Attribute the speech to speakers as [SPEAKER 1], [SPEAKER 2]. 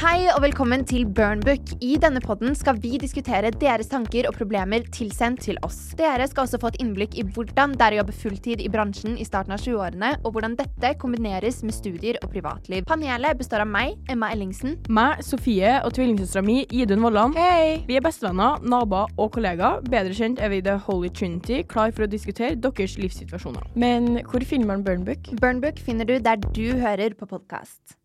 [SPEAKER 1] Hei og velkommen til Burnbook. I denne podden skal vi diskutere deres tanker og problemer tilsendt til oss. Dere skal også få et innblikk i hvordan det er å jobbe fulltid i bransjen i starten av 20-årene, og hvordan dette kombineres med studier og privatliv. Panelet består av meg, Emma Ellingsen.
[SPEAKER 2] Meg, Sofie og tvillingsøstera mi, Idun Vollan.
[SPEAKER 1] Hei!
[SPEAKER 2] Vi er bestevenner, naboer og kollegaer. Bedre kjent er vi The Holy Trinity, klar for å diskutere deres livssituasjoner.
[SPEAKER 3] Men hvor finner man Burnbook?
[SPEAKER 1] Burnbook finner du der du hører på podkast.